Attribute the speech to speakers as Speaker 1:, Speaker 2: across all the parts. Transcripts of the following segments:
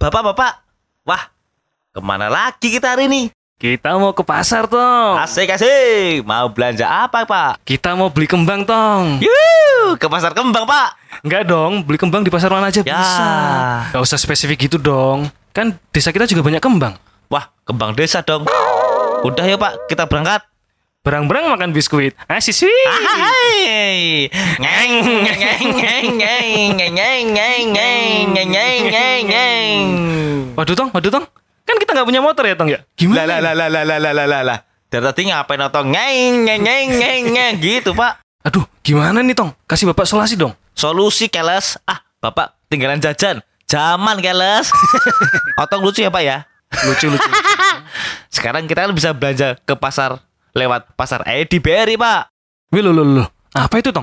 Speaker 1: Bapak-bapak, wah, kemana lagi kita hari ini?
Speaker 2: Kita mau ke pasar, Tong.
Speaker 1: Asik asik, mau belanja apa pak?
Speaker 2: Kita mau beli kembang, Tong.
Speaker 1: Yuh, ke pasar kembang pak.
Speaker 2: Enggak dong, beli kembang di pasar mana aja
Speaker 1: Ya.
Speaker 2: bisa. Gak usah spesifik gitu dong. Kan desa kita juga banyak kembang.
Speaker 1: Wah, kembang desa dong. Udah ya pak, kita berangkat.
Speaker 2: Berang-berang makan biskuit. Asyik sih.
Speaker 1: Ah. Hai. Ngeng, ngeng, ngeng, ngeng, ngeng, ngeng, ngeng, ngeng, ngeng, ngeng, ngeng, ngeng.
Speaker 2: Waduh, Tong. Waduh, Tong. Kan kita nggak punya motor ya, Tong ya?
Speaker 1: Lah
Speaker 2: Gimana?
Speaker 1: lah lah lah lah lah lah, lah lah lah. Dari tadi ngapain atau ngeng ngeng ngeng ngeng ngeng gitu pak?
Speaker 2: Aduh, gimana nih, Tong? Kasih Bapak solasi dong.
Speaker 1: Solusi keles. Ah, bapak tinggalan jajan. Zaman keles. Otong lucu ya pak ya.
Speaker 2: Lucu-lucu.
Speaker 1: Sekarang kita kan bisa belanja ke pasar lewat pasar Edi BRI, Pak.
Speaker 2: Wih, loh, loh, loh. Apa itu, Tong?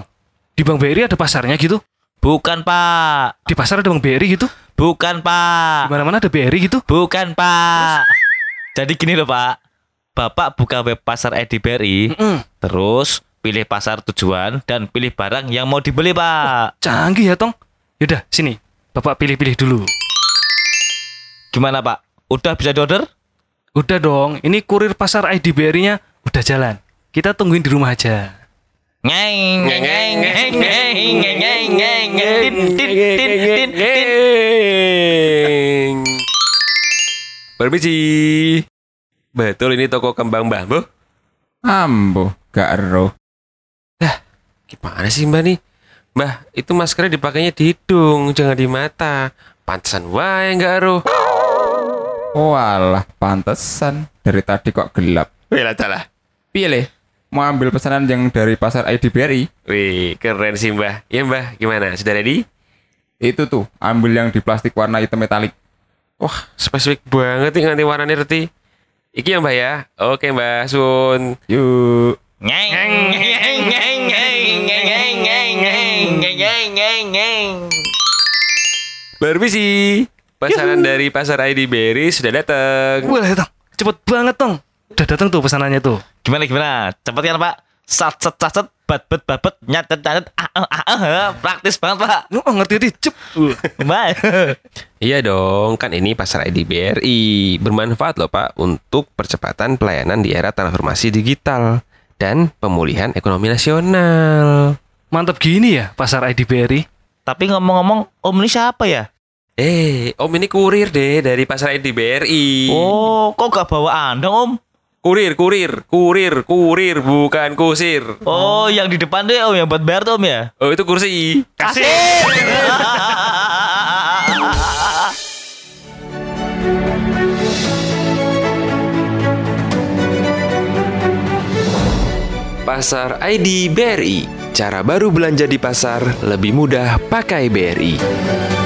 Speaker 2: Di Bank BRI ada pasarnya gitu?
Speaker 1: Bukan, Pak.
Speaker 2: Di pasar ada Bank BRI gitu?
Speaker 1: Bukan, Pak.
Speaker 2: Di mana ada BRI gitu?
Speaker 1: Bukan, Pak. Jadi gini loh, Pak. Bapak buka web pasar Edi BRI,
Speaker 2: Mm-mm.
Speaker 1: terus pilih pasar tujuan dan pilih barang yang mau dibeli, Pak.
Speaker 2: Canggih ya, Tong. Yaudah, sini. Bapak pilih-pilih dulu.
Speaker 1: Gimana, Pak? Udah bisa diorder?
Speaker 2: Udah dong, ini kurir pasar ID BRI-nya udah jalan. Kita tungguin di rumah aja.
Speaker 1: Ngeng, ngeng, ngeng, ngeng, ngeng, ngeng, ngeng, ngeng, ngeng, tin, tin, tin, tin, tin.
Speaker 3: Permisi. Betul ini toko kembang Mbah, Bu.
Speaker 4: Ambo, gak ero.
Speaker 3: Gimana sih Mbah nih? Mbah, itu maskernya dipakainya di hidung, jangan di mata. Pantesan wae enggak aruh.
Speaker 4: Walah, pantesan. Dari tadi kok gelap.
Speaker 3: Wih, lah salah.
Speaker 4: Pilih, mau ambil pesanan yang dari pasar IDBRI?
Speaker 3: Wih, keren sih Mbah. Ya Mbah, gimana? Sudah ready?
Speaker 4: Itu tuh, ambil yang di plastik warna hitam metalik.
Speaker 3: Wah, spesifik banget nih nganti warnanya reti. Iki ya Mbah ya. Oke Mbah, sun.
Speaker 4: Yuk.
Speaker 1: Ngeng, ngeng, ngeng, ngeng, ngeng, ngeng, ngeng, ngeng, ngeng, ngeng, ngeng.
Speaker 3: Permisi. Pasaran dari pasar ID Berry sudah datang.
Speaker 2: Wah, Tong. Cepet banget, Tong. Udah datang tuh pesanannya tuh.
Speaker 1: Gimana gimana? Cepet kan Pak? Sat set sat set bat bet babet nyatet nyatet ah ah ah, ah praktis banget Pak.
Speaker 2: Oh, ngerti-ngerti. Cep. Uh.
Speaker 1: Mbak.
Speaker 3: Iya dong, kan ini pasar ID BRI. Bermanfaat loh Pak untuk percepatan pelayanan di era transformasi digital dan pemulihan ekonomi nasional.
Speaker 2: Mantap gini ya pasar ID BRI.
Speaker 1: Tapi ngomong-ngomong Om ini siapa ya?
Speaker 3: Eh, Om ini kurir deh dari pasar ID BRI.
Speaker 1: Oh, kok gak bawa Anda Om?
Speaker 3: Kurir, kurir, kurir, kurir, bukan kusir.
Speaker 1: Oh, yang di depan deh Om yang buat bayar tuh Om ya.
Speaker 3: Oh, itu kursi.
Speaker 1: Kasih.
Speaker 3: Pasar ID BRI. Cara baru belanja di pasar lebih mudah pakai BRI.